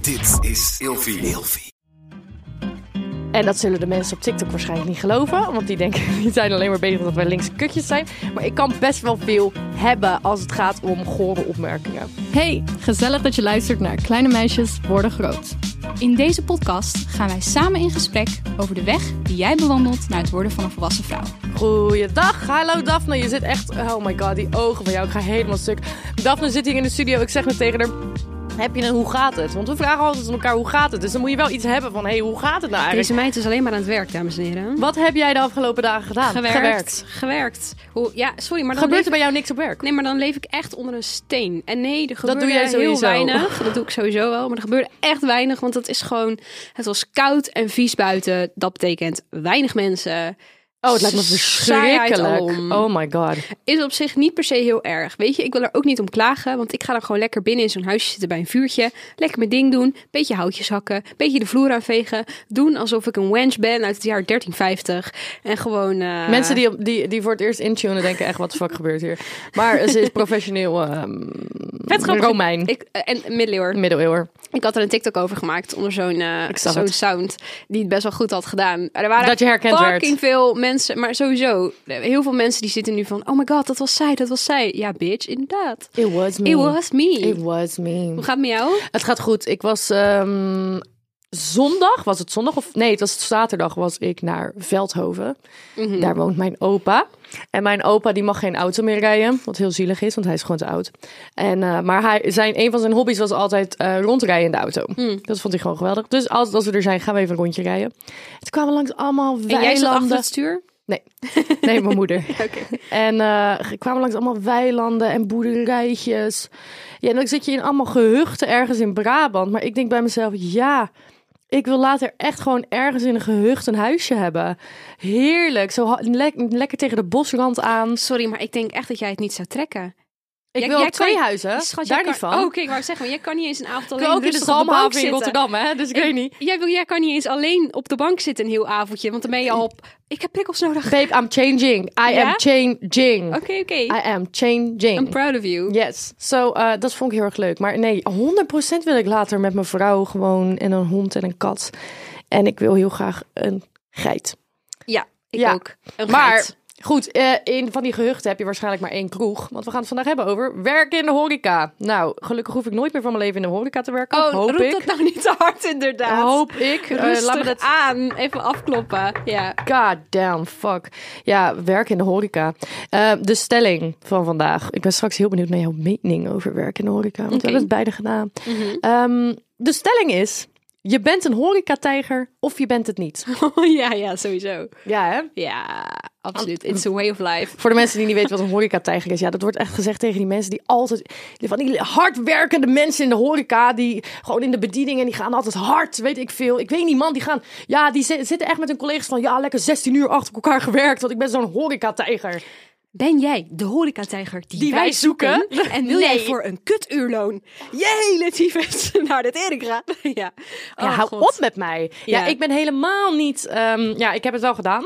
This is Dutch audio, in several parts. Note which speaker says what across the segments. Speaker 1: Dit is Ilfie.
Speaker 2: En dat zullen de mensen op TikTok waarschijnlijk niet geloven. Want die denken, die zijn alleen maar bezig dat wij linkse kutjes zijn. Maar ik kan best wel veel hebben als het gaat om gore opmerkingen.
Speaker 3: Hey, gezellig dat je luistert naar Kleine Meisjes Worden Groot.
Speaker 4: In deze podcast gaan wij samen in gesprek over de weg die jij bewandelt naar het worden van een volwassen vrouw.
Speaker 2: Goeiedag, hallo Daphne. Je zit echt, oh my god, die ogen van jou, ik ga helemaal stuk. Daphne zit hier in de studio, ik zeg net tegen haar... Heb je een hoe gaat het? Want we vragen altijd aan elkaar hoe gaat het. Dus dan moet je wel iets hebben van, hé, hey, hoe gaat het nou eigenlijk?
Speaker 5: Deze meid is alleen maar aan het werk, dames en heren.
Speaker 2: Wat heb jij de afgelopen dagen gedaan?
Speaker 5: Gewerkt. Gewerkt. Hoe, ja, sorry, maar dan
Speaker 2: Gebeurt er
Speaker 5: leef,
Speaker 2: bij jou niks op werk?
Speaker 5: Nee, maar dan leef ik echt onder een steen. En nee, er gebeurde
Speaker 2: doe jij
Speaker 5: heel
Speaker 2: sowieso.
Speaker 5: weinig. Dat doe ik sowieso wel. Maar er gebeurde echt weinig, want dat is gewoon... Het was koud en vies buiten. Dat betekent weinig mensen.
Speaker 2: Oh, het lijkt me
Speaker 5: Saaiheid
Speaker 2: verschrikkelijk.
Speaker 5: alom. Eh.
Speaker 2: Oh my god.
Speaker 5: Is op zich niet per se heel erg. Weet je, ik wil er ook niet om klagen. Want ik ga dan gewoon lekker binnen in zo'n huisje zitten bij een vuurtje. Lekker mijn ding doen. Beetje houtjes hakken. Beetje de vloer aanvegen. Doen alsof ik een wench ben uit het jaar 1350. En gewoon... eh,
Speaker 2: Mensen die, op- die, die voor het eerst intunen denken echt, wat de fuck gebeurt hier? Maar ze is professioneel ehm
Speaker 5: Vet grappig.
Speaker 2: Romein,
Speaker 5: Ik, eh, en middeleeuwen.
Speaker 2: middeleeuwer.
Speaker 5: Ik had er een TikTok over gemaakt onder zo'n eh,
Speaker 2: Ik zag
Speaker 5: zo'n
Speaker 2: het.
Speaker 5: sound die het best wel goed had gedaan. Er waren
Speaker 2: Dat je herkend werd.
Speaker 5: fucking veel mensen, maar sowieso eh, heel veel mensen die zitten nu van oh my god, dat was zij, dat was zij. Ja, bitch, inderdaad.
Speaker 2: It was me.
Speaker 5: It was me.
Speaker 2: It was me.
Speaker 5: Hoe gaat het met jou?
Speaker 2: Het gaat goed. Ik was ehm, zondag, was het zondag of nee, het was zaterdag, was ik naar Veldhoven.
Speaker 5: Mhm.
Speaker 2: Daar woont mijn opa. En mijn opa die mag geen auto meer rijden, wat heel zielig is, want hij is gewoon te oud. En, eh, maar hij, zijn, een van zijn hobby's was altijd eh, rondrijden in de auto.
Speaker 5: Mhm.
Speaker 2: Dat vond hij gewoon geweldig. Dus altijd als we er zijn, gaan we even een rondje rijden. Het kwamen langs allemaal
Speaker 5: En jij zat achter
Speaker 2: weilanden.
Speaker 5: het stuur?
Speaker 2: Nee. Nee, mijn moeder.
Speaker 5: Oké.
Speaker 2: En eh kwamen langs allemaal weilanden en boerderijtjes. Ja, en dan zit je in allemaal gehuchten ergens in Brabant. Maar ik denk bij mezelf, ja, ik wil later echt gewoon ergens in een gehucht een huisje hebben. Heerlijk. Zo ha- le- lekker tegen de bosrand aan.
Speaker 5: Sorry, maar ik denk echt dat jij het niet zou trekken.
Speaker 2: Ik
Speaker 5: Jij-
Speaker 2: wil
Speaker 5: jij
Speaker 2: twee
Speaker 5: kan-
Speaker 2: huizen.
Speaker 5: Schat, jij
Speaker 2: daar
Speaker 5: kan-
Speaker 2: niet van.
Speaker 5: Oh, oké, ik wou zeggen, maar jij kan niet eens een avond
Speaker 2: ik
Speaker 5: alleen
Speaker 2: wil ook in de
Speaker 5: rustig op de bank
Speaker 2: Zalmhaven in
Speaker 5: zitten.
Speaker 2: Rotterdam, hè? Dus ik weet niet.
Speaker 5: Jij, wil- jij kan niet eens alleen op de bank zitten een heel avondje, want dan ben je al op... Ik heb prikkels nodig. Oké,
Speaker 2: Babe, I'm changing. I
Speaker 5: Ja?
Speaker 2: am changing.
Speaker 5: oké.
Speaker 2: I am changing.
Speaker 5: I'm proud of you.
Speaker 2: Yes. Zo, eh, dat vond ik heel erg leuk. Maar nee, 100% wil ik later met mijn vrouw gewoon en een hond en een kat. En ik wil heel graag een geit.
Speaker 5: Ja, ik
Speaker 2: Ja.
Speaker 5: ook. Een
Speaker 2: Maar
Speaker 5: geit.
Speaker 2: goed, eh, in van die gehuchten heb je waarschijnlijk maar één kroeg. Want we gaan het vandaag hebben over werken in de horeca. Nou, gelukkig hoef ik nooit meer van mijn leven in de horeca te werken.
Speaker 5: Oh,
Speaker 2: hoop
Speaker 5: roep
Speaker 2: ik.
Speaker 5: dat nou niet te hard inderdaad.
Speaker 2: Hoop ik. Eh,
Speaker 5: Rustig
Speaker 2: laat me dat
Speaker 5: aan. Even afkloppen. Ja.
Speaker 2: God damn, fuck. Ja, werk in de horeca. Eh, de stelling van vandaag. Ik ben straks heel benieuwd naar jouw mening over werk in de horeca. Want we hebben het beide gedaan. Ehm, de stelling is... Je bent een horecatijger of je bent het niet.
Speaker 5: Oh, ja, ja, sowieso.
Speaker 2: Ja, hè?
Speaker 5: Ja, absoluut. It's a way of life.
Speaker 2: Voor de mensen die niet weten wat een horecatijger is. Ja, dat wordt echt gezegd tegen die mensen die altijd... Van die hardwerkende mensen in de horeca. Die gewoon in de bediening en die gaan altijd hard. Weet ik veel. Ik weet niet, man. Die gaan... Ja, die zi- zitten echt met hun collega's van... Ja, lekker 16 uur achter elkaar gewerkt. Want ik ben zo'n horecatijger.
Speaker 5: Ben jij de horecatijger die,
Speaker 2: Die wij zoeken?
Speaker 5: En wil jij
Speaker 2: Nee.
Speaker 5: voor een kutuurloon? Jee, tyfus naar dit Erika. ja.
Speaker 2: Ja,
Speaker 5: Oh,
Speaker 2: hou
Speaker 5: God.
Speaker 2: op met mij. Ja.
Speaker 5: Ja.
Speaker 2: ik ben helemaal niet. ehm, ja, ik heb het wel gedaan.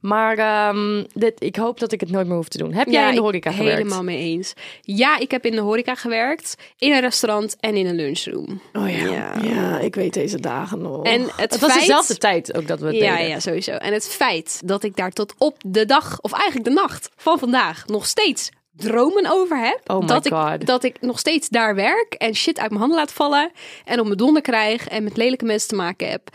Speaker 2: Maar ehm, dit, ik hoop dat ik het nooit meer hoef te doen. Heb jij in de
Speaker 5: ik-
Speaker 2: horeca gewerkt?
Speaker 5: Helemaal mee eens. Ja, ik heb in de horeca gewerkt. In een restaurant en in een lunchroom.
Speaker 2: Oh ja. ja. ik weet deze dagen nog.
Speaker 5: En
Speaker 2: het,
Speaker 5: het
Speaker 2: was
Speaker 5: feit-
Speaker 2: dezelfde tijd ook dat we het
Speaker 5: Ja,
Speaker 2: deden.
Speaker 5: ja, sowieso. En het feit dat ik daar tot op de dag, of eigenlijk de nacht van vandaag, nog steeds dromen over heb.
Speaker 2: Oh my
Speaker 5: dat,
Speaker 2: God.
Speaker 5: Ik, dat ik nog steeds daar werk en shit uit mijn handen laat vallen. En op mijn donder krijg en met lelijke mensen te maken heb.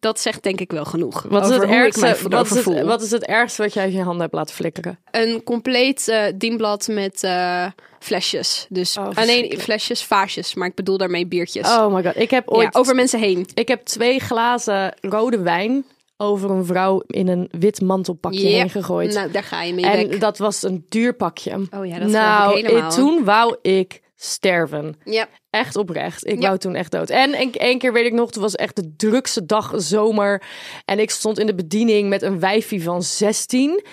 Speaker 5: Dat zegt denk ik wel genoeg.
Speaker 2: Wat is,
Speaker 5: over
Speaker 2: het
Speaker 5: hoe ik mij
Speaker 2: ergste, wat,
Speaker 5: erover
Speaker 2: is het,
Speaker 5: voel.
Speaker 2: wat is het ergste wat jij uit je handen hebt laten flikkeren?
Speaker 5: Een compleet eh, dienblad met eh, flesjes. Dus, ah,
Speaker 2: Oh,
Speaker 5: nee,
Speaker 2: verschrikkelijk.
Speaker 5: flesjes, vaasjes. Maar ik bedoel daarmee biertjes.
Speaker 2: Oh my god, ik heb
Speaker 5: ja,
Speaker 2: ooit
Speaker 5: over mensen heen.
Speaker 2: Ik heb twee glazen rode wijn over een vrouw in een wit mantelpakje
Speaker 5: Ja.
Speaker 2: heen gegooid.
Speaker 5: Nou, daar ga je mee
Speaker 2: en
Speaker 5: weg.
Speaker 2: dat was een duur pakje.
Speaker 5: Oh ja, dat
Speaker 2: nou,
Speaker 5: geloof ik helemaal.
Speaker 2: toen wou ik sterven.
Speaker 5: Ja.
Speaker 2: Echt oprecht. Ik
Speaker 5: Ja.
Speaker 2: wou toen echt dood. En één één keer weet ik nog, toen was echt de drukste dag zomer. En ik stond in de bediening met een wijfie van 16.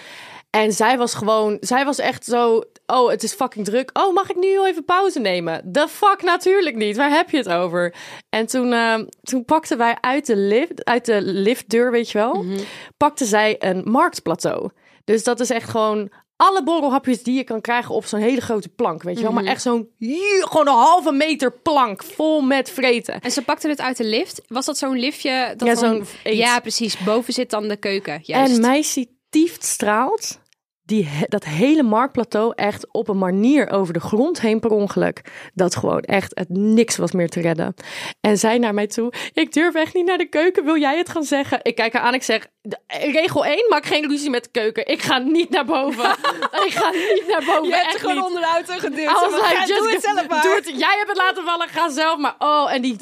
Speaker 2: En zij was gewoon, zij was echt zo. Oh, het is fucking druk. Oh, mag ik nu heel even pauze nemen? The fuck, natuurlijk niet. Waar heb je het over? En toen, eh, toen pakten wij uit de, lift, uit
Speaker 5: Mhm.
Speaker 2: de liftdeur, weet je wel, pakte zij een marktplateau. Dus dat is echt gewoon alle borrelhapjes die je kan krijgen op zo'n hele grote plank, weet je wel. Maar echt zo'n, hier, gewoon een halve meter plank vol met vreten.
Speaker 5: En ze pakte het uit de lift. Was dat zo'n liftje? Dat
Speaker 2: Ja,
Speaker 5: dan-
Speaker 2: zo'n eet.
Speaker 5: Ja, precies. Boven zit dan de keuken. Juist.
Speaker 2: En meisje tieft straalt die, he- dat hele marktplateau echt op een manier over de grond heen per ongeluk. Dat gewoon echt het niks was meer te redden. En zij naar mij toe, ik durf echt niet naar de keuken, wil jij het gaan zeggen? Ik kijk haar aan, ik zeg, "D- regel 1, maak geen ruzie met de keuken. Ik ga niet naar boven. ik ga niet naar boven,
Speaker 5: Je hebt
Speaker 2: echt
Speaker 5: er gewoon
Speaker 2: niet.
Speaker 5: onderuit en geduwd.
Speaker 2: I
Speaker 5: Ze
Speaker 2: was
Speaker 5: van,
Speaker 2: like,
Speaker 5: "Ja,
Speaker 2: just
Speaker 5: doe het
Speaker 2: go-
Speaker 5: zelf maar.
Speaker 2: doe het. Jij hebt het laten vallen, ga zelf maar. Oh, en die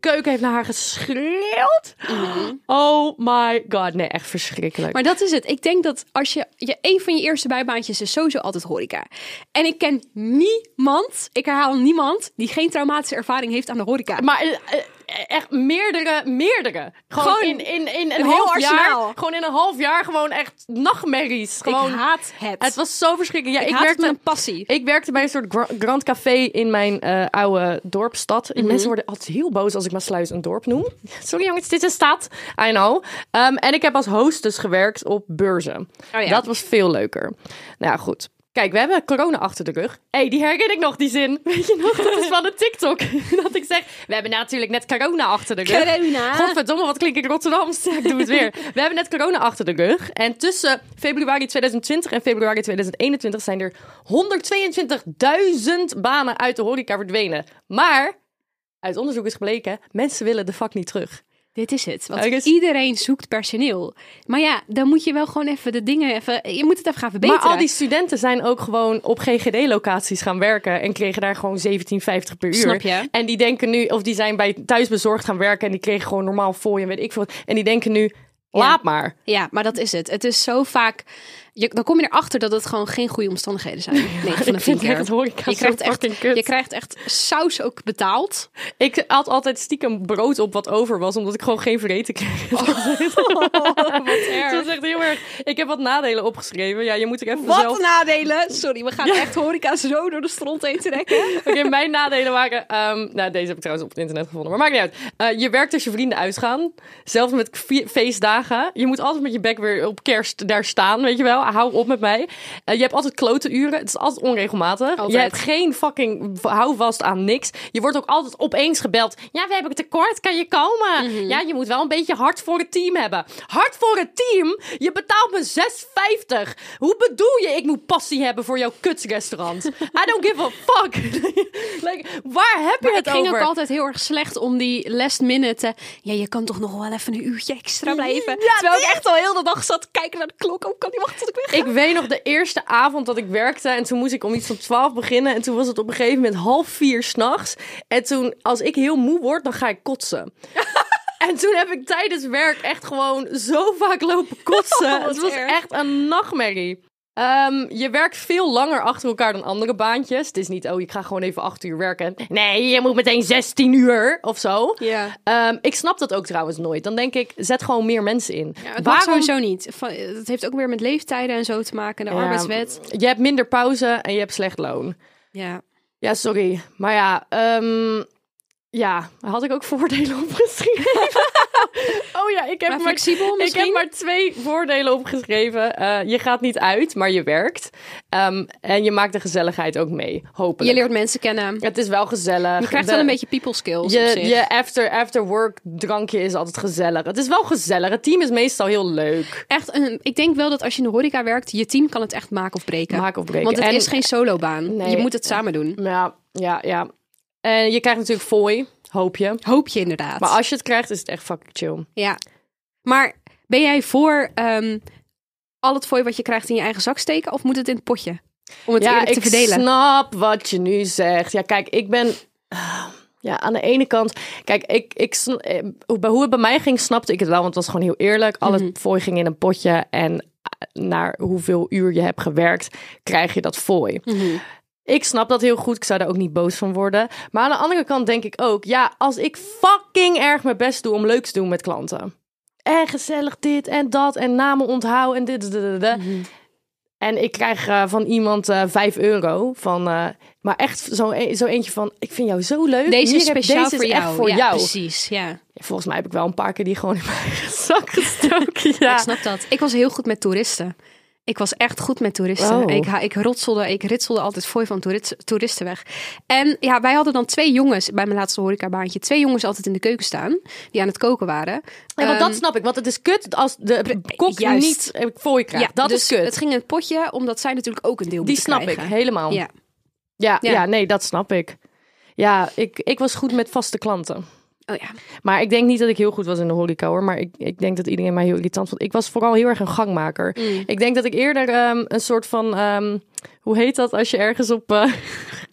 Speaker 2: keuken heeft naar haar geschreeuwd.
Speaker 5: Mhm.
Speaker 2: Oh my god, nee, echt verschrikkelijk.
Speaker 5: Maar dat is het. Ik denk dat als je, je een van je eerste bijbaantjes is sowieso altijd horeca. En ik ken niemand, ik herhaal niemand, die geen traumatische ervaring heeft aan de horeca.
Speaker 2: Maar eh, eh, echt meerdere, meerdere. Gewoon,
Speaker 5: Gewoon
Speaker 2: in, in, in een,
Speaker 5: een heel
Speaker 2: half
Speaker 5: arsenaal.
Speaker 2: jaar. Gewoon in een half jaar gewoon echt nachtmerries. Gewoon,
Speaker 5: ik haat het.
Speaker 2: het was zo verschrikkelijk. Ja,
Speaker 5: ik
Speaker 2: ik,
Speaker 5: haat het
Speaker 2: werkte,
Speaker 5: met een passie.
Speaker 2: ik werkte bij een soort gra- grand café in mijn eh, oude dorpstad.
Speaker 5: Mhm.
Speaker 2: En Mensen worden altijd heel boos als ik Maasluis een dorp noem. Sorry jongens, dit is een stad. I know. Ehm, en ik heb als hostess gewerkt op beurzen.
Speaker 5: Oh ja.
Speaker 2: Dat was veel leuker. Nou ja, goed. Kijk, we hebben corona achter de rug. Hé, hey, die herken ik nog, die zin. Weet je nog, dat is van de TikTok. Dat ik zeg, we hebben natuurlijk net corona achter de rug.
Speaker 5: Corona.
Speaker 2: Godverdomme, wat klink ik Rotterdams. Ja, Ik doe het weer. We hebben net corona achter de rug. En tussen februari 2020 en februari 2021 zijn er 122.000 banen uit de horeca verdwenen. Maar, uit onderzoek is gebleken, mensen willen de vak niet terug.
Speaker 5: Dit is het. Want
Speaker 2: Ik is-
Speaker 5: iedereen zoekt personeel. Maar ja, dan moet je wel gewoon even de dingen even. Je moet het even gaan verbeteren.
Speaker 2: Maar al die studenten zijn ook gewoon op GGD-locaties gaan werken en kregen daar gewoon 17,50 per uur.
Speaker 5: Snap je?
Speaker 2: En die denken nu, of die zijn bij thuisbezorgd gaan werken en die kregen gewoon normaal fooi en weet ik veel. wat. En die denken nu, laat maar.
Speaker 5: Ja, maar dat is het. Het is zo vaak. Je, dan kom je erachter dat het gewoon geen goede omstandigheden zijn. Nee, van de
Speaker 2: ik vind
Speaker 5: keer.
Speaker 2: echt horeca
Speaker 5: je krijgt
Speaker 2: zo
Speaker 5: echt,
Speaker 2: fucking kut.
Speaker 5: Je krijgt echt saus ook betaald.
Speaker 2: Ik had altijd stiekem brood op wat over was, omdat ik gewoon geen vreten kreeg.
Speaker 5: Oh,
Speaker 2: Dat was echt heel erg. Ik heb wat nadelen opgeschreven. Ja, je moet ik even zelf...
Speaker 5: Wat nadelen. Sorry, we gaan echt horeca zo door de stront heen trekken.
Speaker 2: Oké, mijn nadelen waren... ehm, nou, deze heb ik trouwens op het internet gevonden, maar maakt niet uit. Eh, je werkt als je vrienden uitgaan. Zelfs met fe- feestdagen. Je moet altijd met je bek weer op kerst daar staan, weet je wel. Hou op met mij. Eh, je hebt altijd klote uren. Het is altijd onregelmatig.
Speaker 5: Altijd.
Speaker 2: Je hebt geen fucking v- houvast aan niks. Je wordt ook altijd opeens gebeld. Ja, we hebben een tekort. Kan je komen?
Speaker 5: Mhm.
Speaker 2: Ja, je moet wel een beetje hard voor het team hebben. Hard voor het team? Je betaalt me 6,50. Hoe bedoel je ik moet passie hebben voor jouw kutsrestaurant? I don't give a fuck. like, waar heb je
Speaker 5: Maar het
Speaker 2: het
Speaker 5: ging
Speaker 2: over?
Speaker 5: ook altijd heel erg slecht om die last minute. eh, Ja, je kan toch nog wel even een uurtje extra blijven. Terwijl ik echt al heel de dag zat te kijken naar de klok. Oh, ik kan niet wachten tot ik weg.
Speaker 2: Ik weet nog de eerste avond dat ik werkte. En toen moest ik om iets van 12 beginnen. En toen was het op een gegeven moment half vier s'nachts. En toen, als ik heel moe word, dan ga ik kotsen. En toen heb ik tijdens werk echt gewoon zo vaak lopen kotsen.
Speaker 5: Wat
Speaker 2: het was
Speaker 5: erg.
Speaker 2: echt een nachtmerrie. Ehm, je werkt veel langer achter elkaar dan andere baantjes. Het is niet, oh, ik ga gewoon even acht uur werken. Nee, je moet meteen 16 uur of zo.
Speaker 5: Ja.
Speaker 2: Ehm, ik snap dat ook trouwens nooit. Dan denk ik, zet gewoon meer mensen in.
Speaker 5: Het mag sowieso niet. Van, dat heeft ook weer met leeftijden en zo te maken. De
Speaker 2: Ja,
Speaker 5: arbeidswet.
Speaker 2: Ehm, Je hebt minder pauze en je hebt slecht loon.
Speaker 5: Ja.
Speaker 2: Ja, sorry. Maar ja, ehm, ja, had ik ook voordelen opgeschreven. oh ja, ik heb maar,
Speaker 5: Maar flexibel
Speaker 2: ik heb
Speaker 5: misschien?
Speaker 2: maar twee voordelen opgeschreven. Eh, je gaat niet uit, maar je werkt. Ehm, en je maakt de gezelligheid ook mee, hopelijk.
Speaker 5: Je leert mensen kennen.
Speaker 2: Het is wel gezellig.
Speaker 5: Je krijgt
Speaker 2: De-
Speaker 5: wel een beetje people skills op
Speaker 2: Je,
Speaker 5: zich.
Speaker 2: je after, after work drankje is altijd gezellig. Het is wel gezellig. Het team is meestal heel leuk.
Speaker 5: Echt een, ik denk wel dat als je in de horeca werkt, je team kan het echt maken of breken.
Speaker 2: Maken of breken.
Speaker 5: Want het
Speaker 2: En-
Speaker 5: is geen solobaan.
Speaker 2: Nee.
Speaker 5: Je moet het samen doen.
Speaker 2: Ja, ja, ja. En je krijgt natuurlijk fooi, hoop je.
Speaker 5: Hoop je inderdaad.
Speaker 2: Maar als je het krijgt, is het echt fucking chill.
Speaker 5: Ja. Maar ben jij voor ehm, al het fooi wat je krijgt in je eigen zak steken? Of moet het in het potje? Om het
Speaker 2: ja,
Speaker 5: eerlijk te
Speaker 2: ik
Speaker 5: verdelen.
Speaker 2: snap wat je nu zegt. Ja, kijk, ik ben... Ja, aan de ene kant... Kijk, ik, ik, sn- eh, hoe- bij hoe het bij mij ging, snapte ik het wel. Want het was gewoon heel eerlijk. Al
Speaker 5: Mhm.
Speaker 2: het fooi ging in een potje. En eh, naar hoeveel uur je hebt gewerkt, krijg je dat fooi. Ik snap dat heel goed. Ik zou daar ook niet boos van worden. Maar aan de andere kant denk ik ook... Ja, als ik fucking erg mijn best doe om leuk te doen met klanten. En gezellig dit en dat. En namen onthouden en dit. dit, dit, dit, dit.
Speaker 5: Mhm.
Speaker 2: En ik krijg eh, van iemand eh 5 euro. Van, eh, maar echt zo, e- zo eentje van, ik vind jou zo leuk.
Speaker 5: Deze is
Speaker 2: Hier heb-
Speaker 5: speciaal
Speaker 2: deze
Speaker 5: voor
Speaker 2: is
Speaker 5: jou.
Speaker 2: Echt voor
Speaker 5: ja,
Speaker 2: jou.
Speaker 5: precies. Ja.
Speaker 2: Volgens mij heb ik wel een paar keer die gewoon in mijn eigen zak gestoken. Ja.
Speaker 5: Ik snap dat. Ik was heel goed met toeristen. Ik was echt goed met toeristen.
Speaker 2: Oh.
Speaker 5: Ik, ha- ik rotselde, ik ritselde altijd fooi van toerits- toeristen weg. En ja, wij hadden dan twee jongens bij mijn laatste horecabaantje. Twee jongens altijd in de keuken staan, die aan het koken waren.
Speaker 2: Ja, want
Speaker 5: Ehm,
Speaker 2: dat snap ik. Want het is kut als de kok
Speaker 5: juist.
Speaker 2: niet eh, voor je krijgt.
Speaker 5: ja,
Speaker 2: dat
Speaker 5: dus
Speaker 2: is kut.
Speaker 5: Het ging in het potje, omdat zij natuurlijk ook een deel
Speaker 2: Die
Speaker 5: moeten
Speaker 2: snap ik
Speaker 5: krijgen.
Speaker 2: helemaal. Ja.
Speaker 5: Ja.
Speaker 2: Ja,
Speaker 5: Ja.
Speaker 2: nee, dat snap ik. Ja, ik, ik was goed met vaste klanten.
Speaker 5: Oh ja.
Speaker 2: Maar ik denk niet dat ik heel goed was in de horeca hoor. Maar ik, ik denk dat iedereen mij heel irritant vond. Ik was vooral heel erg een gangmaker.
Speaker 5: Mm.
Speaker 2: Ik denk dat ik eerder ehm, een soort van... ehm, hoe heet dat als je ergens op eh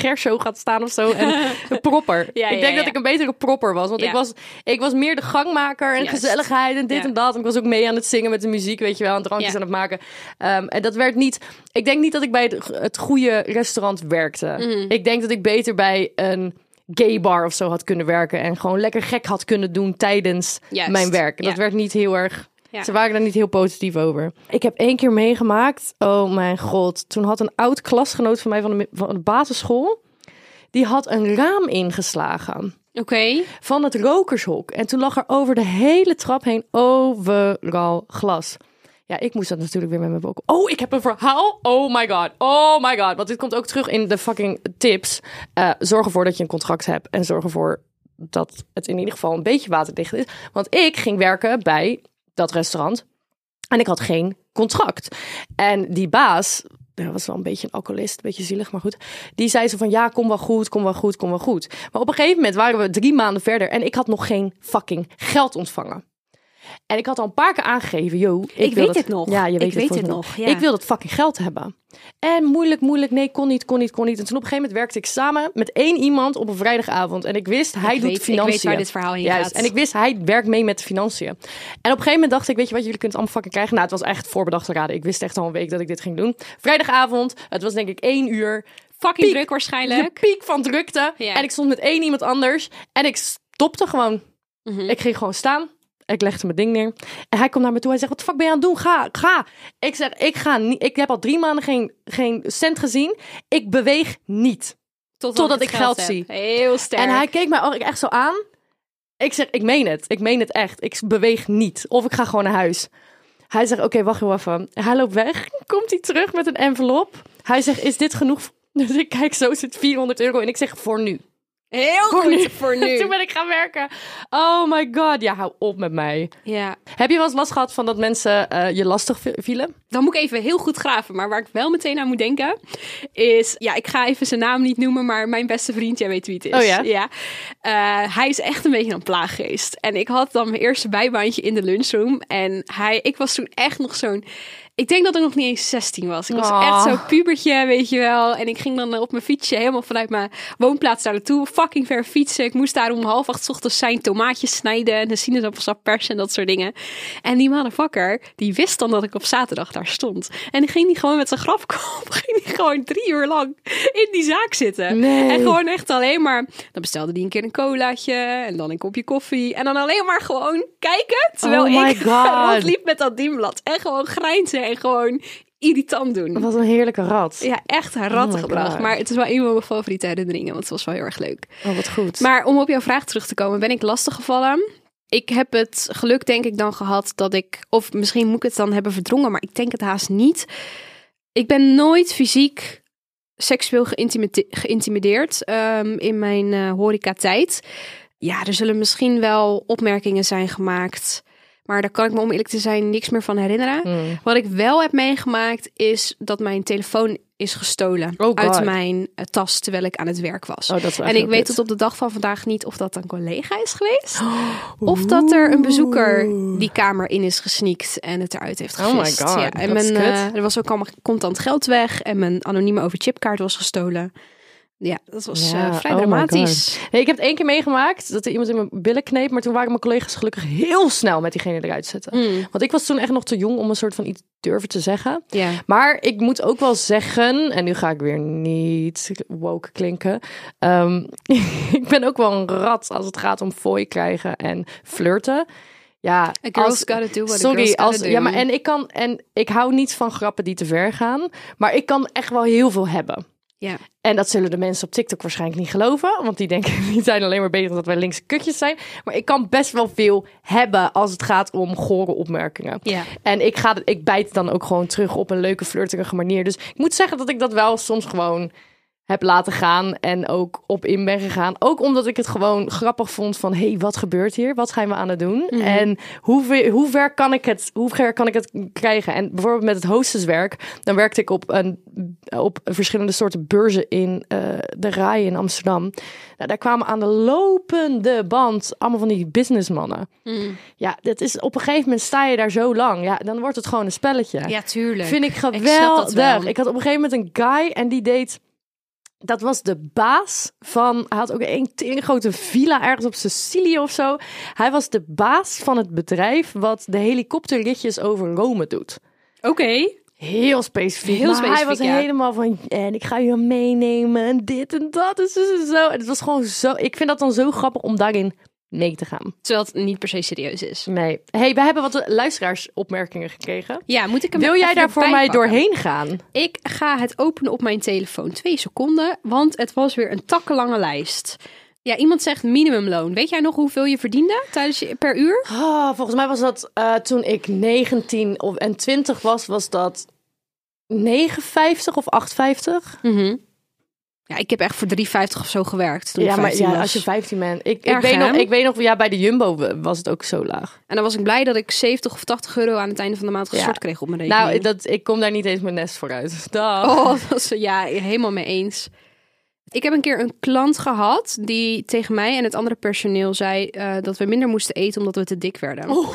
Speaker 2: Gershow gaat staan of zo? En een propper.
Speaker 5: Ja,
Speaker 2: ik denk dat
Speaker 5: ja, ja.
Speaker 2: ik een betere propper was. Want
Speaker 5: Ja.
Speaker 2: ik, was, ik was meer de gangmaker en
Speaker 5: Juist.
Speaker 2: gezelligheid en dit
Speaker 5: Ja.
Speaker 2: en dat. En ik was ook mee aan het zingen met de muziek, weet je wel. En drankjes
Speaker 5: Ja.
Speaker 2: aan het maken. Ehm, en dat werd niet... Ik denk niet dat ik bij het, het goede restaurant werkte.
Speaker 5: Mhm.
Speaker 2: Ik denk dat ik beter bij een gay bar of zo had kunnen werken. En gewoon lekker gek had kunnen doen tijdens
Speaker 5: Juist,
Speaker 2: mijn werk. Dat
Speaker 5: ja.
Speaker 2: werd niet heel erg...
Speaker 5: Ja.
Speaker 2: Ze waren daar niet heel positief over. Ik heb één keer meegemaakt. Oh mijn god. Toen had een oud klasgenoot van mij van de, mi- van de basisschool... die had een raam ingeslagen
Speaker 5: Oké.
Speaker 2: van het rokershok. En toen lag er over de hele trap heen overal glas. Ja, ik moest dat natuurlijk weer met mijn boek. Oh, ik heb een verhaal. Oh my god. Oh my god. Want dit komt ook terug in de fucking tips. Eh, zorg ervoor dat je een contract hebt. En zorg ervoor dat het in ieder geval een beetje waterdicht is. Want ik ging werken bij dat restaurant. En ik had geen contract. En die baas, dat was wel een beetje een alcoholist, een beetje zielig, maar goed. Die zei zo van, ja, kom wel goed, kom wel goed, kom wel goed. Maar op een gegeven moment waren we drie maanden verder en ik had nog geen fucking geld ontvangen. En ik had al een paar keer aangegeven, yo, ik, wil
Speaker 5: weet
Speaker 2: dat-
Speaker 5: het nog.
Speaker 2: Ja, je
Speaker 5: Ik
Speaker 2: weet het,
Speaker 5: weet
Speaker 2: volgens
Speaker 5: het
Speaker 2: mij
Speaker 5: nog, ja.
Speaker 2: Ik wil dat fucking geld hebben. En moeilijk, moeilijk, nee, kon niet, kon niet, kon niet. En toen op een gegeven moment werkte ik samen met één iemand op een vrijdagavond. En ik wist, hij
Speaker 5: Ik
Speaker 2: doet
Speaker 5: weet- ik weet
Speaker 2: financiën.
Speaker 5: waar dit verhaal heen
Speaker 2: Juist.
Speaker 5: gaat.
Speaker 2: En ik wist, hij werkt mee met de financiën. En op een gegeven moment dacht ik, weet je wat, jullie kunnen het allemaal fucking krijgen. Nou, het was echt voorbedachte raden. Ik wist echt al een week dat ik dit ging doen. Vrijdagavond, het was denk ik één uur.
Speaker 5: Fucking
Speaker 2: Piek.
Speaker 5: druk waarschijnlijk.
Speaker 2: De piek van drukte.
Speaker 5: Ja.
Speaker 2: En ik stond met één iemand anders. En ik stopte gewoon.
Speaker 5: Mhm.
Speaker 2: Ik ging gewoon staan. Ik legde mijn ding neer. En hij komt naar me toe. Hij zegt, wat de fuck ben je aan het doen? Ga, ga. Ik zeg, ik ga niet. Ik heb al drie maanden geen, geen cent gezien. Ik beweeg niet. Totdat ik geld
Speaker 5: heb.
Speaker 2: zie.
Speaker 5: Heel sterk.
Speaker 2: En hij keek mij ook echt zo aan. Ik zeg, ik meen het. Ik meen het echt. Ik beweeg niet. Of ik ga gewoon naar huis. Hij zegt, oké, wacht heel even. Hij loopt weg. Komt hij terug met een envelop. Hij zegt, is dit genoeg? Dus ik kijk, zo zit 400 euro. En ik zeg, voor nu.
Speaker 5: Heel
Speaker 2: Voor
Speaker 5: goed
Speaker 2: nu.
Speaker 5: voor nu.
Speaker 2: Toen ben ik gaan werken. Oh my god. Ja, hou op met mij.
Speaker 5: Ja.
Speaker 2: Heb je wel eens last gehad van dat mensen eh, je lastig vi- vielen?
Speaker 5: Dan moet ik even heel goed graven. Maar waar ik wel meteen aan moet denken is... Ja, ik ga even zijn naam niet noemen, maar mijn beste vriend, jij weet wie het is.
Speaker 2: Oh ja?
Speaker 5: Eh, hij is echt een beetje een plaaggeest. En ik had dan mijn eerste bijbaantje in de lunchroom. En hij, ik was toen echt nog zo'n... Ik denk dat ik nog niet eens 16 was. Ik was
Speaker 2: Ah.
Speaker 5: echt zo'n pubertje, weet je wel. En ik ging dan eh, op mijn fietsje helemaal vanuit mijn woonplaats daar naartoe. Fucking ver fietsen. Ik moest daar om half acht 's ochtends zijn tomaatjes snijden. En de sinaasappelsap persen en dat soort dingen. En die motherfucker, die wist dan dat ik op zaterdag daar stond. En die ging die gewoon met zijn grafkop. Ging die gewoon drie uur lang in die zaak zitten.
Speaker 2: Nee.
Speaker 5: En gewoon echt alleen maar... Dan bestelde die een keer een colaatje. En dan een kopje koffie. En dan alleen maar gewoon kijken. Terwijl
Speaker 2: Oh my
Speaker 5: ik
Speaker 2: God.
Speaker 5: rondliep met dat dienblad. En gewoon grijnzen en gewoon irritant doen.
Speaker 2: Wat een heerlijke rat.
Speaker 5: Ja, echt
Speaker 2: Oh my
Speaker 5: rattengedrag.
Speaker 2: God.
Speaker 5: maar het is wel een van mijn favoriete herinneringen, want het was wel heel erg leuk.
Speaker 2: Oh, wat goed.
Speaker 5: Maar om op jouw vraag terug te komen, ben ik lastiggevallen? Ik heb het geluk denk ik dan gehad dat ik, of misschien moet ik het dan hebben verdrongen, maar ik denk het haast niet. Ik ben nooit fysiek seksueel geïntimide- geïntimideerd ehm, in mijn eh horecatijd. Ja, er zullen misschien wel opmerkingen zijn gemaakt, maar daar kan ik me om eerlijk te zijn niks meer van herinneren.
Speaker 2: Mm.
Speaker 5: Wat ik wel heb meegemaakt is dat mijn telefoon is gestolen
Speaker 2: Oh,
Speaker 5: uit
Speaker 2: God.
Speaker 5: mijn eh, tas terwijl ik aan het werk was.
Speaker 2: Oh, dat is wel echt
Speaker 5: en
Speaker 2: heel
Speaker 5: ik weet
Speaker 2: kut.
Speaker 5: tot op de dag van vandaag niet of dat een collega is geweest.
Speaker 2: Oh.
Speaker 5: Of dat er een bezoeker die kamer in is gesneakt en het eruit heeft
Speaker 2: Oh my
Speaker 5: gevist.
Speaker 2: God,
Speaker 5: ja. En
Speaker 2: dat is
Speaker 5: mijn,
Speaker 2: kut.
Speaker 5: eh, er was ook allemaal contant geld weg en mijn anonieme overchipkaart was gestolen. Ja, dat was
Speaker 2: Ja,
Speaker 5: eh, vrij
Speaker 2: oh my
Speaker 5: dramatisch.
Speaker 2: Nee, ik heb het één keer meegemaakt dat er iemand in mijn billen kneep. Maar toen waren mijn collega's gelukkig heel snel met diegene eruit zetten.
Speaker 5: Mm,
Speaker 2: Want ik was toen echt nog te jong om een soort van iets durven te zeggen.
Speaker 5: Ja.
Speaker 2: Maar ik moet ook wel zeggen, en nu ga ik weer niet woke klinken. ehm, ik ben ook wel een rat als het gaat om fooi krijgen en flirten. Ja,
Speaker 5: A girl's
Speaker 2: als-
Speaker 5: gotta do what a
Speaker 2: sorry,
Speaker 5: girl's gotta
Speaker 2: als,
Speaker 5: do.
Speaker 2: Ja, maar en ik kan en ik hou niet van grappen die te ver gaan, maar ik kan echt wel heel veel hebben.
Speaker 5: Ja.
Speaker 2: En dat zullen de mensen op TikTok waarschijnlijk niet geloven. Want die denken, die zijn alleen maar bezig dat wij linkse kutjes zijn. Maar ik kan best wel veel hebben als het gaat om gore opmerkingen.
Speaker 4: Ja.
Speaker 2: En ik, ga, ik bijt dan ook gewoon terug op een leuke, flirterige manier. Dus ik moet zeggen dat ik dat wel soms gewoon heb laten gaan en ook op in ben gegaan. Ook omdat ik het gewoon grappig vond van... hé, hey, wat gebeurt hier? Wat gaan we aan het doen? En hoe, ve- hoe, ver kan ik het, hoe ver kan ik het krijgen? En bijvoorbeeld met het hostesswerk... dan werkte ik op, een, op verschillende soorten beurzen in eh, de Rai in Amsterdam. Nou, daar kwamen aan de lopende band allemaal van die businessmannen. Ja, dat is, op een gegeven moment sta je daar zo lang. Ja, dan wordt het gewoon een spelletje.
Speaker 4: Ja, tuurlijk.
Speaker 2: Vind ik
Speaker 4: Ik snap dat wel.
Speaker 2: geweldig. Ik, had op een gegeven moment een guy en die deed... Dat was de baas van... Hij had ook een tering grote villa ergens op Sicilië of zo. Hij was de baas van het bedrijf wat de helikopterritjes over Rome doet.
Speaker 5: Oké.
Speaker 2: Heel specifiek.
Speaker 5: Heel
Speaker 2: maar hij
Speaker 5: specifiek,
Speaker 2: was
Speaker 5: ja.
Speaker 2: helemaal van... En ik ga je meenemen en dit en dat en zo en zo. En het was gewoon zo... Ik vind dat dan zo grappig om daarin mee te gaan.
Speaker 5: Terwijl het niet per se serieus is.
Speaker 2: Nee. hey, we hebben wat luisteraarsopmerkingen gekregen.
Speaker 5: Ja, moet ik hem
Speaker 2: Wil
Speaker 5: even
Speaker 2: jij daar voor
Speaker 5: erbij
Speaker 2: mij
Speaker 5: pakken?
Speaker 2: doorheen gaan?
Speaker 5: Ik ga het openen op mijn telefoon. Twee seconden, want het was weer een takkenlange lijst. Ja, iemand zegt minimumloon. Weet jij nog hoeveel je verdiende tijdens je, per uur?
Speaker 2: Ah, volgens mij was dat eh, toen ik 19 of, en 20 was, was dat 9,50 of 8,50.
Speaker 5: Mhm. Ja, ik heb echt voor 3,50 of zo gewerkt toen
Speaker 2: Ja,
Speaker 5: ik
Speaker 2: maar
Speaker 5: 15
Speaker 2: ja,
Speaker 5: was.
Speaker 2: als je 15 bent. Ik, ik,
Speaker 5: Erg,
Speaker 2: weet
Speaker 5: hè?
Speaker 2: nog, ik weet nog, ja, bij de Jumbo eh, was het ook zo laag.
Speaker 5: En dan was ik blij dat ik 70 of 80 euro aan het einde van de maand gestort
Speaker 2: Ja.
Speaker 5: kreeg op mijn rekening.
Speaker 2: Nou, dat, ik kom daar niet eens mijn nest voor uit. Dag.
Speaker 5: Oh, dat is, ja, helemaal mee eens. Ik heb een keer een klant gehad die tegen mij en het andere personeel zei eh, dat we minder moesten eten omdat we te dik werden.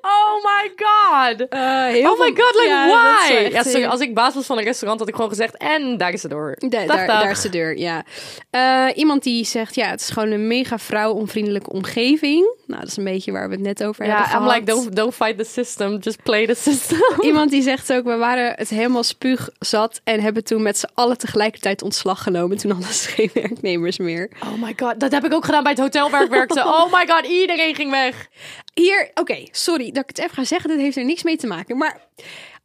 Speaker 2: Oh my god.
Speaker 5: Eh, heel
Speaker 2: Oh my
Speaker 5: veel-
Speaker 2: god, like
Speaker 5: Ja, dat is wel
Speaker 2: why?
Speaker 5: echt
Speaker 2: Ja, sorry,
Speaker 5: heel-
Speaker 2: als ik baas was van een restaurant, had ik gewoon gezegd, en daar is het door.
Speaker 5: Da-
Speaker 2: Dag,
Speaker 5: daar,
Speaker 2: dag.
Speaker 5: daar is de deur, ja. Eh, iemand die zegt, ja, het is gewoon een mega vrouw-onvriendelijke omgeving. Nou, dat is een beetje waar we het net over hebben
Speaker 2: Ja, I'm
Speaker 5: gehad.
Speaker 2: like, don't, don't fight the system, just play the system.
Speaker 5: Iemand die zegt ook, we waren het helemaal spuugzat en hebben toen met z'n allen tegelijkertijd ontslag genomen. Toen hadden ze geen werknemers meer.
Speaker 2: Oh my god, dat heb ik ook gedaan bij het hotel waar ik werkte. Oh my god, iedereen ging weg.
Speaker 5: Hier, oké, sorry dat ik het even ga zeggen. Dit heeft er niks mee te maken. Maar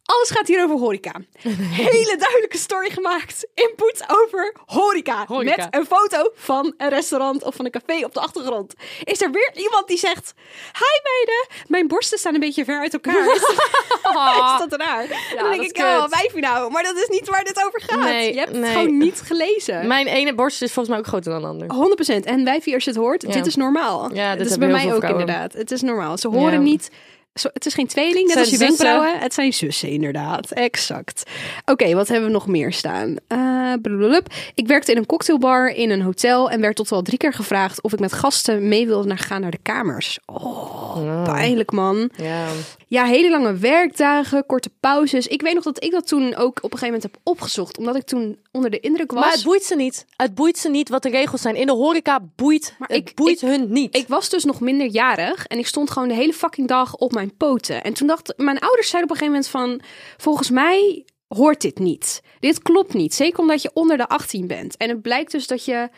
Speaker 5: alles gaat hier over horeca. Hele duidelijke story gemaakt. Input over horeca.
Speaker 2: Horeca.
Speaker 5: Met een foto van een restaurant of van een café op de achtergrond. Is er weer iemand die zegt... Hi meiden, mijn borsten staan een beetje ver uit elkaar. Is dat,
Speaker 2: Ah.
Speaker 5: is dat raar?
Speaker 2: Ja,
Speaker 5: dan
Speaker 2: dat
Speaker 5: denk
Speaker 2: is
Speaker 5: ik, ja,
Speaker 2: kut.
Speaker 5: wijf je nou. Maar dat is niet waar dit over gaat.
Speaker 2: Nee,
Speaker 5: Je hebt het
Speaker 2: nee.
Speaker 5: gewoon niet gelezen.
Speaker 2: Mijn ene borst is volgens mij ook groter dan de
Speaker 5: Oh.
Speaker 2: ander.
Speaker 5: 100%. En wij vier, als je het hoort,
Speaker 2: Ja.
Speaker 5: dit is normaal.
Speaker 2: Ja, dit
Speaker 5: dat is
Speaker 2: hebben
Speaker 5: bij
Speaker 2: heel
Speaker 5: mij
Speaker 2: veel
Speaker 5: ook
Speaker 2: vrouwen.
Speaker 5: inderdaad. Het is normaal. Ze horen
Speaker 2: Ja.
Speaker 5: niet. Zo, het is geen tweeling, net
Speaker 2: Zijn
Speaker 5: als je
Speaker 2: zussen.
Speaker 5: wenkbrauwen. Het zijn zussen, inderdaad. Exact. Oké, wat hebben we nog meer staan? Eh, blubblub. ik werkte in een cocktailbar in een hotel en werd tot wel drie keer gevraagd of ik met gasten mee wilde naar, gaan naar de kamers. Oh, pijnlijk man.
Speaker 2: Ja.
Speaker 5: Ja, hele lange werkdagen, korte pauzes. Ik weet nog dat ik dat toen ook op een gegeven moment heb opgezocht, omdat ik toen onder de indruk was.
Speaker 2: Maar het boeit ze niet. Het boeit ze niet wat de regels zijn. In de horeca boeit,
Speaker 5: Maar
Speaker 2: het
Speaker 5: ik-
Speaker 2: boeit
Speaker 5: ik-
Speaker 2: hun niet.
Speaker 5: Ik was dus nog minderjarig en ik stond gewoon de hele fucking dag op mijn poten. En toen dacht mijn ouders zeiden op een gegeven moment van volgens mij hoort dit niet. Dit klopt niet, zeker omdat je onder de 18 bent. En het blijkt dus dat je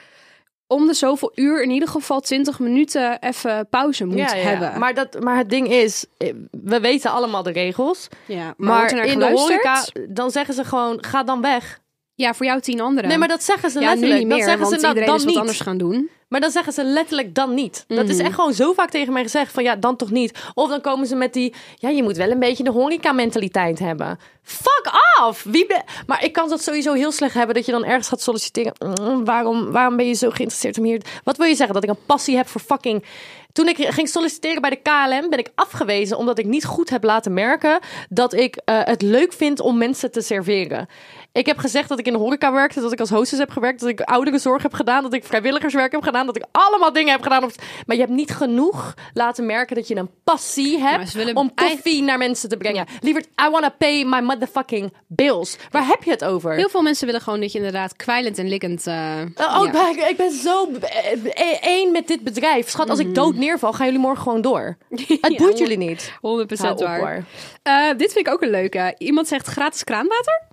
Speaker 5: om de zoveel uur in ieder geval 20 minuten even pauze moet
Speaker 2: ja, ja, ja.
Speaker 5: hebben.
Speaker 2: Maar, dat, maar het ding is, eh, we weten allemaal de regels.
Speaker 5: ja, maar,
Speaker 2: Maar,
Speaker 5: wordt er naar
Speaker 2: in de
Speaker 5: geluisterd?
Speaker 2: horeca, dan zeggen ze gewoon, ga dan weg.
Speaker 5: Ja, voor jou tien anderen.
Speaker 2: Nee, maar dat zeggen ze
Speaker 5: ja, nu
Speaker 2: letterlijk.
Speaker 5: niet meer,
Speaker 2: dat zeggen
Speaker 5: want
Speaker 2: ze nou, dan
Speaker 5: iedereen is wat
Speaker 2: niet.
Speaker 5: anders gaan doen.
Speaker 2: Maar dan zeggen ze letterlijk dan niet. Dat is echt gewoon zo vaak tegen mij gezegd van ja, dan toch niet. Of dan komen ze met die, ja, je moet wel een beetje de horeca-mentaliteit hebben. Fuck off! Wie be- maar ik kan dat sowieso heel slecht hebben dat je dan ergens gaat solliciteren. Mm, waarom, waarom ben je zo geïnteresseerd om hier... Wat wil je zeggen? Dat ik een passie heb voor fucking... Toen ik ging solliciteren bij de KLM ben ik afgewezen omdat ik niet goed heb laten merken dat ik eh, het leuk vind om mensen te serveren. Ik heb gezegd dat ik in de horeca werkte, dat ik als hostess heb gewerkt, dat ik ouderenzorg heb gedaan, dat ik vrijwilligerswerk heb gedaan, dat ik allemaal dingen heb gedaan. op- Maar je hebt niet genoeg laten merken dat je een passie
Speaker 5: ze
Speaker 2: hebt
Speaker 5: willen
Speaker 2: om koffie
Speaker 5: eigenlijk-
Speaker 2: naar mensen te brengen. Lieverd, I wanna pay my motherfucking bills. Waar heb je het over?
Speaker 5: Heel veel mensen willen gewoon dat je inderdaad kwijlend en liggend... eh,
Speaker 2: Oh,
Speaker 5: ja.
Speaker 2: ik, ben, ik ben zo b- eh, één met dit bedrijf. Schat, als
Speaker 5: Mhm.
Speaker 2: ik dood neerval, gaan jullie morgen gewoon door. Het boeit jullie niet.
Speaker 5: 100%
Speaker 2: Hou op,
Speaker 5: waar.
Speaker 2: hoor.
Speaker 5: Eh, dit vind ik ook een leuke. Iemand zegt gratis kraanwater.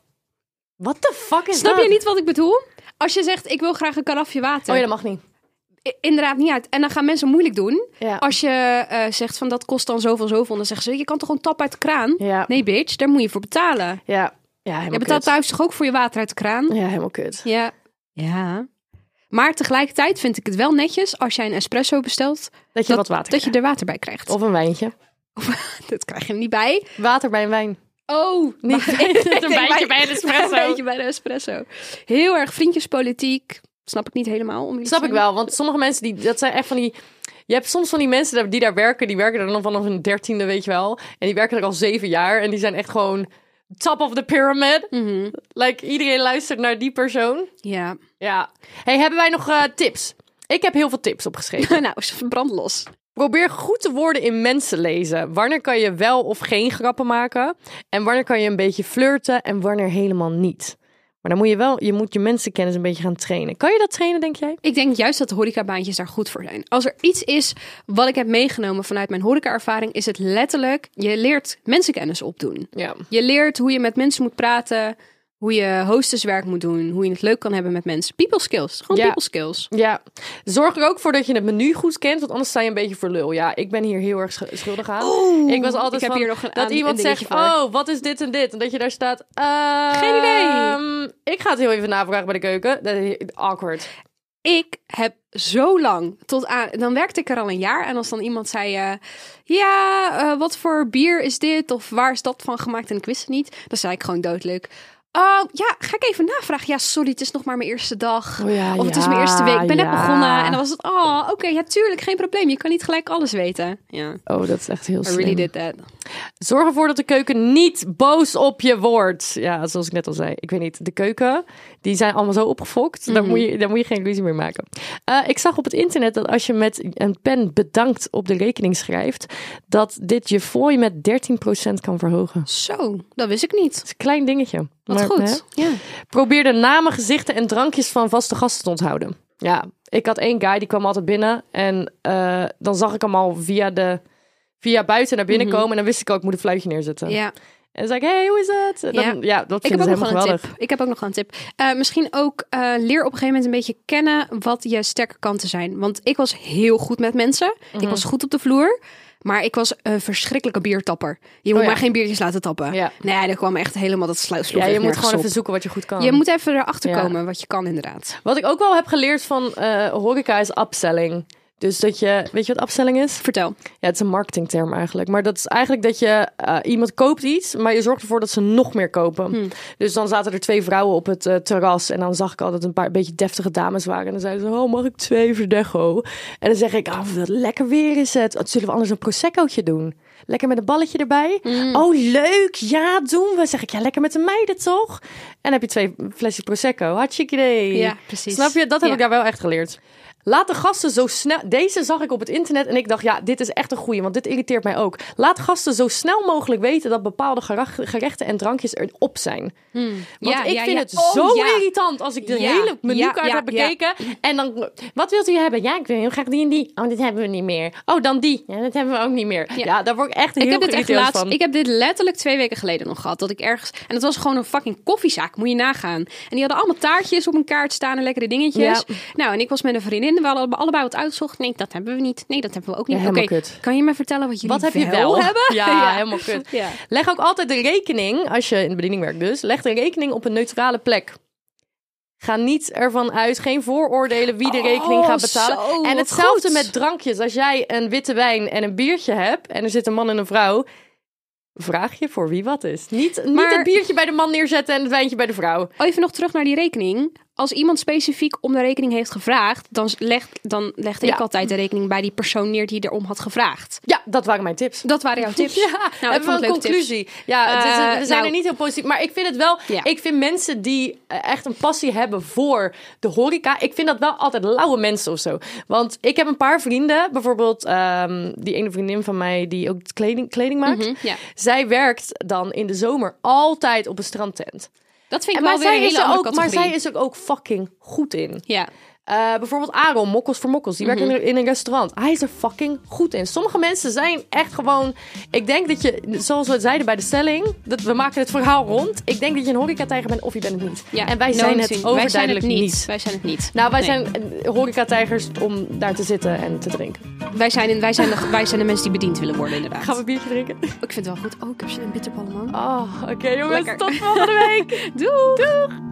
Speaker 2: What the fuck is
Speaker 5: Snap
Speaker 2: dat?
Speaker 5: je niet wat ik bedoel? Als je zegt, ik wil graag een karafje water.
Speaker 2: Oh ja, dat mag niet.
Speaker 5: I- Inderdaad niet uit. En dan gaan mensen moeilijk doen.
Speaker 2: Ja.
Speaker 5: Als je eh, zegt, van dat kost dan zoveel, zoveel. Dan zeggen ze, je kan toch gewoon tap uit de kraan?
Speaker 2: Ja.
Speaker 5: Nee, bitch, daar moet je voor betalen.
Speaker 2: Ja. Ja, helemaal
Speaker 5: Je betaalt
Speaker 2: kut.
Speaker 5: thuis toch ook voor je water uit de kraan?
Speaker 2: Ja, helemaal kut.
Speaker 5: Ja. Ja. Maar tegelijkertijd vind ik het wel netjes als jij een espresso bestelt,
Speaker 2: Dat je wat water
Speaker 5: dat je
Speaker 2: krijgt.
Speaker 5: er water bij krijgt.
Speaker 2: Of een wijntje.
Speaker 5: dat krijg je er niet bij.
Speaker 2: Water bij een wijn.
Speaker 5: Oh,
Speaker 2: Niet een wijntje bij een espresso.
Speaker 5: Een beetje bij de espresso. Heel erg vriendjespolitiek. Snap ik niet helemaal. Om
Speaker 2: Snap ik wel, want sommige mensen die, dat zijn echt van die... Je hebt soms van die mensen daar- die daar werken, die werken er dan vanaf hun dertiende, weet je wel. En die werken er al zeven jaar en die zijn echt gewoon top of the pyramid. Like, iedereen luistert naar die persoon.
Speaker 5: Ja.
Speaker 2: Ja. hey, hebben wij nog eh, tips? Ik heb heel veel tips opgeschreven.
Speaker 5: nou, ze brand los.
Speaker 2: Probeer goed de woorden in mensen lezen. Wanneer kan je wel of geen grappen maken? En wanneer kan je een beetje flirten en wanneer helemaal niet? Maar dan moet je wel, je moet je mensenkennis een beetje gaan trainen. Kan je dat trainen, denk jij?
Speaker 5: Ik denk juist dat de horecabaantjes daar goed voor zijn. Als er iets is wat ik heb meegenomen vanuit mijn horecaervaring, is het letterlijk, je leert mensenkennis opdoen.
Speaker 2: Ja.
Speaker 5: Je leert hoe je met mensen moet praten, hoe je hostesswerk moet doen, hoe je het leuk kan hebben met mensen. People skills, gewoon
Speaker 2: Ja.
Speaker 5: people skills.
Speaker 2: Ja. Zorg er ook voor dat je het menu goed kent, want anders sta je een beetje voor lul. Ja, ik ben hier heel erg sch- schuldig aan. ik was altijd
Speaker 5: ik heb
Speaker 2: van,
Speaker 5: hier nog een-
Speaker 2: dat
Speaker 5: aan-
Speaker 2: iemand
Speaker 5: een
Speaker 2: zegt,
Speaker 5: dingetje voor.
Speaker 2: oh, wat is dit en dit? En dat je daar staat,
Speaker 5: Geen idee.
Speaker 2: ehm, Ik ga het heel even navragen bij de keuken. Dat is awkward.
Speaker 5: Ik heb zo lang tot aan. Dan werkte ik er al een jaar. En als dan iemand zei: eh, Ja, eh, wat voor bier is dit? Of waar is dat van gemaakt? En ik wist het niet. Dan zei ik gewoon doodleuk. Oh ja, ga ik even navragen. Ja, sorry, het is nog maar mijn eerste dag.
Speaker 2: Oh ja,
Speaker 5: of het is
Speaker 2: ja,
Speaker 5: mijn eerste week. Ik ben net
Speaker 2: ja.
Speaker 5: begonnen. En dan was het: Oh, oké, ja, tuurlijk, geen probleem. Je kan niet gelijk alles weten. Ja,
Speaker 2: Oh, dat is echt heel
Speaker 5: I really did that.
Speaker 2: Zorg ervoor dat de keuken niet boos op je wordt. Ja, zoals ik net al zei. Ik weet niet, de keuken, die zijn allemaal zo opgefokt. Daar,
Speaker 5: Mhm.
Speaker 2: moet je, daar moet je geen illusie meer maken. Eh, ik zag op het internet dat als je met een pen bedankt op de rekening schrijft... dat dit je fooi met 13% kan verhogen. Dat
Speaker 5: Zo, dat wist ik niet.
Speaker 2: is een klein dingetje.
Speaker 5: Wat
Speaker 2: maar,
Speaker 5: goed. Ja.
Speaker 2: hè. Probeer de namen, gezichten en drankjes van vaste gasten te onthouden. Ja, ik had één guy, die kwam altijd binnen. En eh, dan zag ik hem al via, de, via buiten naar
Speaker 5: Mhm.
Speaker 2: binnen komen. En dan wist ik ook, ik moet een fluitje neerzetten.
Speaker 5: ja.
Speaker 2: En dan zei ik, hey, hoe is het? En Dan, ja. dat
Speaker 5: Ik
Speaker 2: vind ik
Speaker 5: heb ook nog
Speaker 2: helemaal
Speaker 5: wel een
Speaker 2: geweldig.
Speaker 5: tip. Ik heb ook nog wel een tip. Eh, misschien ook eh, leer op een gegeven moment een beetje kennen wat je sterke kanten zijn. Want ik was heel goed met mensen.
Speaker 2: Mhm.
Speaker 5: Ik was goed op de vloer. Maar ik was een verschrikkelijke biertapper. Je moet
Speaker 2: Oh ja.
Speaker 5: maar geen biertjes laten tappen.
Speaker 2: Ja.
Speaker 5: Nee, daar kwam echt helemaal dat sluitsloeg.
Speaker 2: Ja, je moet gewoon even zoeken wat je goed kan.
Speaker 5: Je moet even erachter
Speaker 2: Ja.
Speaker 5: komen wat je kan inderdaad.
Speaker 2: Wat ik ook wel heb geleerd van eh horeca is upselling. Dus dat je, weet je wat upselling is?
Speaker 5: Vertel.
Speaker 2: Ja, het is een marketingterm eigenlijk. Maar dat is eigenlijk dat je eh, iemand koopt iets, maar je zorgt ervoor dat ze nog meer kopen.
Speaker 5: Hm.
Speaker 2: Dus dan zaten er twee vrouwen op het eh, terras. En dan zag ik altijd een paar beetje deftige dames waren. En dan zeiden ze: Oh, mag ik twee verdecho? En dan zeg ik: Ah, wat lekker weer is het. Wat zullen we anders een proseccootje doen? Lekker met een balletje erbij.
Speaker 5: Hm.
Speaker 2: Oh, leuk. Ja, doen we. Zeg ik, ja, lekker met de meiden toch? En dan heb je twee flesjes prosecco. Hartstikke idee.
Speaker 5: Ja, precies.
Speaker 2: Snap je? Dat heb
Speaker 5: Ja.
Speaker 2: ik daar wel echt geleerd. Laat de gasten zo snel. Deze zag ik op het internet en ik dacht, ja, dit is echt een goeie, want dit irriteert mij ook. Laat gasten zo snel mogelijk weten dat bepaalde gerach- gerechten en drankjes erop zijn. Want
Speaker 5: Hmm. Ja,
Speaker 2: ik
Speaker 5: ja,
Speaker 2: vind
Speaker 5: ja.
Speaker 2: het
Speaker 5: Oh,
Speaker 2: zo
Speaker 5: ja.
Speaker 2: irritant als ik de
Speaker 5: Ja,
Speaker 2: hele menukaart
Speaker 5: ja,
Speaker 2: heb
Speaker 5: ja, ja.
Speaker 2: bekeken en dan, wat wilt u hebben? Ja, ik wil heel graag die en die. Oh, dit hebben we niet meer. Oh, dan die. Ja, dat hebben we ook niet meer. Ja, daar word ik echt heel
Speaker 5: Ik heb dit echt
Speaker 2: geïrriteerd
Speaker 5: laatst.
Speaker 2: van.
Speaker 5: Ik heb dit letterlijk twee weken geleden nog gehad. Dat ik ergens. En het was gewoon een fucking koffiezaak, moet je nagaan. En die hadden allemaal taartjes op een kaart staan en lekkere dingetjes.
Speaker 2: Ja.
Speaker 5: Nou, en ik was met een vriendin. We hadden allebei wat uitgezocht. Nee, dat hebben we niet. Nee, dat hebben we ook niet.
Speaker 2: Ja,
Speaker 5: Oké,
Speaker 2: helemaal kut.
Speaker 5: kan je me vertellen wat jullie
Speaker 2: Wat heb je wel?
Speaker 5: hebben?
Speaker 2: Ja, helemaal kut.
Speaker 5: Ja.
Speaker 2: Leg ook altijd de rekening, als je in de bediening werkt dus, leg de rekening op een neutrale plek. Ga niet ervan uit, geen vooroordelen wie de rekening gaat betalen.
Speaker 5: Oh, zo,
Speaker 2: en
Speaker 5: wat
Speaker 2: hetzelfde
Speaker 5: goed.
Speaker 2: met drankjes. Als jij een witte wijn en een biertje hebt en er zit een man en een vrouw, vraag je voor wie wat is. Niet, niet
Speaker 5: Maar-
Speaker 2: het biertje bij de man neerzetten en het wijntje bij de vrouw.
Speaker 5: Oh, Even nog terug naar die rekening. Als iemand specifiek om de rekening heeft gevraagd, dan, leg, dan legde
Speaker 2: Ja.
Speaker 5: ik altijd de rekening bij die persoon neer die erom had gevraagd.
Speaker 2: Ja, dat waren mijn tips.
Speaker 5: Dat waren jouw tips.
Speaker 2: Ja,
Speaker 5: Nou, ik vond
Speaker 2: hebben we
Speaker 5: het
Speaker 2: een
Speaker 5: leuke tips.
Speaker 2: conclusie. Ja, het is-
Speaker 5: Eh,
Speaker 2: we zijn
Speaker 5: nou-
Speaker 2: er niet heel positief. Maar ik vind het wel...
Speaker 5: Ja.
Speaker 2: Ik vind mensen die eh, echt een passie hebben voor de horeca... Ik vind dat wel altijd lauwe mensen of zo. Want ik heb een paar vrienden. Bijvoorbeeld ehm, die ene vriendin van mij die ook kleding, kleding maakt.
Speaker 5: Mhm, ja.
Speaker 2: Zij werkt dan in de zomer altijd op een strandtent.
Speaker 5: Dat vind ik
Speaker 2: En
Speaker 5: wel
Speaker 2: maar
Speaker 5: weer een
Speaker 2: zij, is
Speaker 5: hele
Speaker 2: er
Speaker 5: andere
Speaker 2: ook, maar
Speaker 5: categorie.
Speaker 2: zij is er ook fucking goed in.
Speaker 5: Ja.
Speaker 2: Eh, bijvoorbeeld Aaron, Mokkels voor Mokkels. Die werkt in, in een restaurant. Hij is er fucking goed in. Sommige mensen zijn echt gewoon... Ik denk dat je, zoals we het zeiden bij de stelling... Dat we maken het verhaal rond. Ik denk dat je een horecatijger bent of je bent het niet.
Speaker 5: Ja,
Speaker 2: en wij
Speaker 5: no
Speaker 2: zijn het
Speaker 5: twin.
Speaker 2: overduidelijk
Speaker 5: Wij zijn het niet.
Speaker 2: niet.
Speaker 5: Wij zijn het niet.
Speaker 2: Nou, wij
Speaker 5: Nee.
Speaker 2: zijn eh, horecatijgers om daar te zitten en te drinken.
Speaker 5: Nou, Wij zijn, wij, zijn de, wij zijn de mensen die bediend willen worden, inderdaad.
Speaker 2: Gaan we biertje drinken?
Speaker 5: Ik vind het wel goed. Oh, ik heb zin in bitterballen, man.
Speaker 2: Oh, Ah, oké jongens,
Speaker 5: Lekker.
Speaker 2: tot volgende week. Doei. Doeg.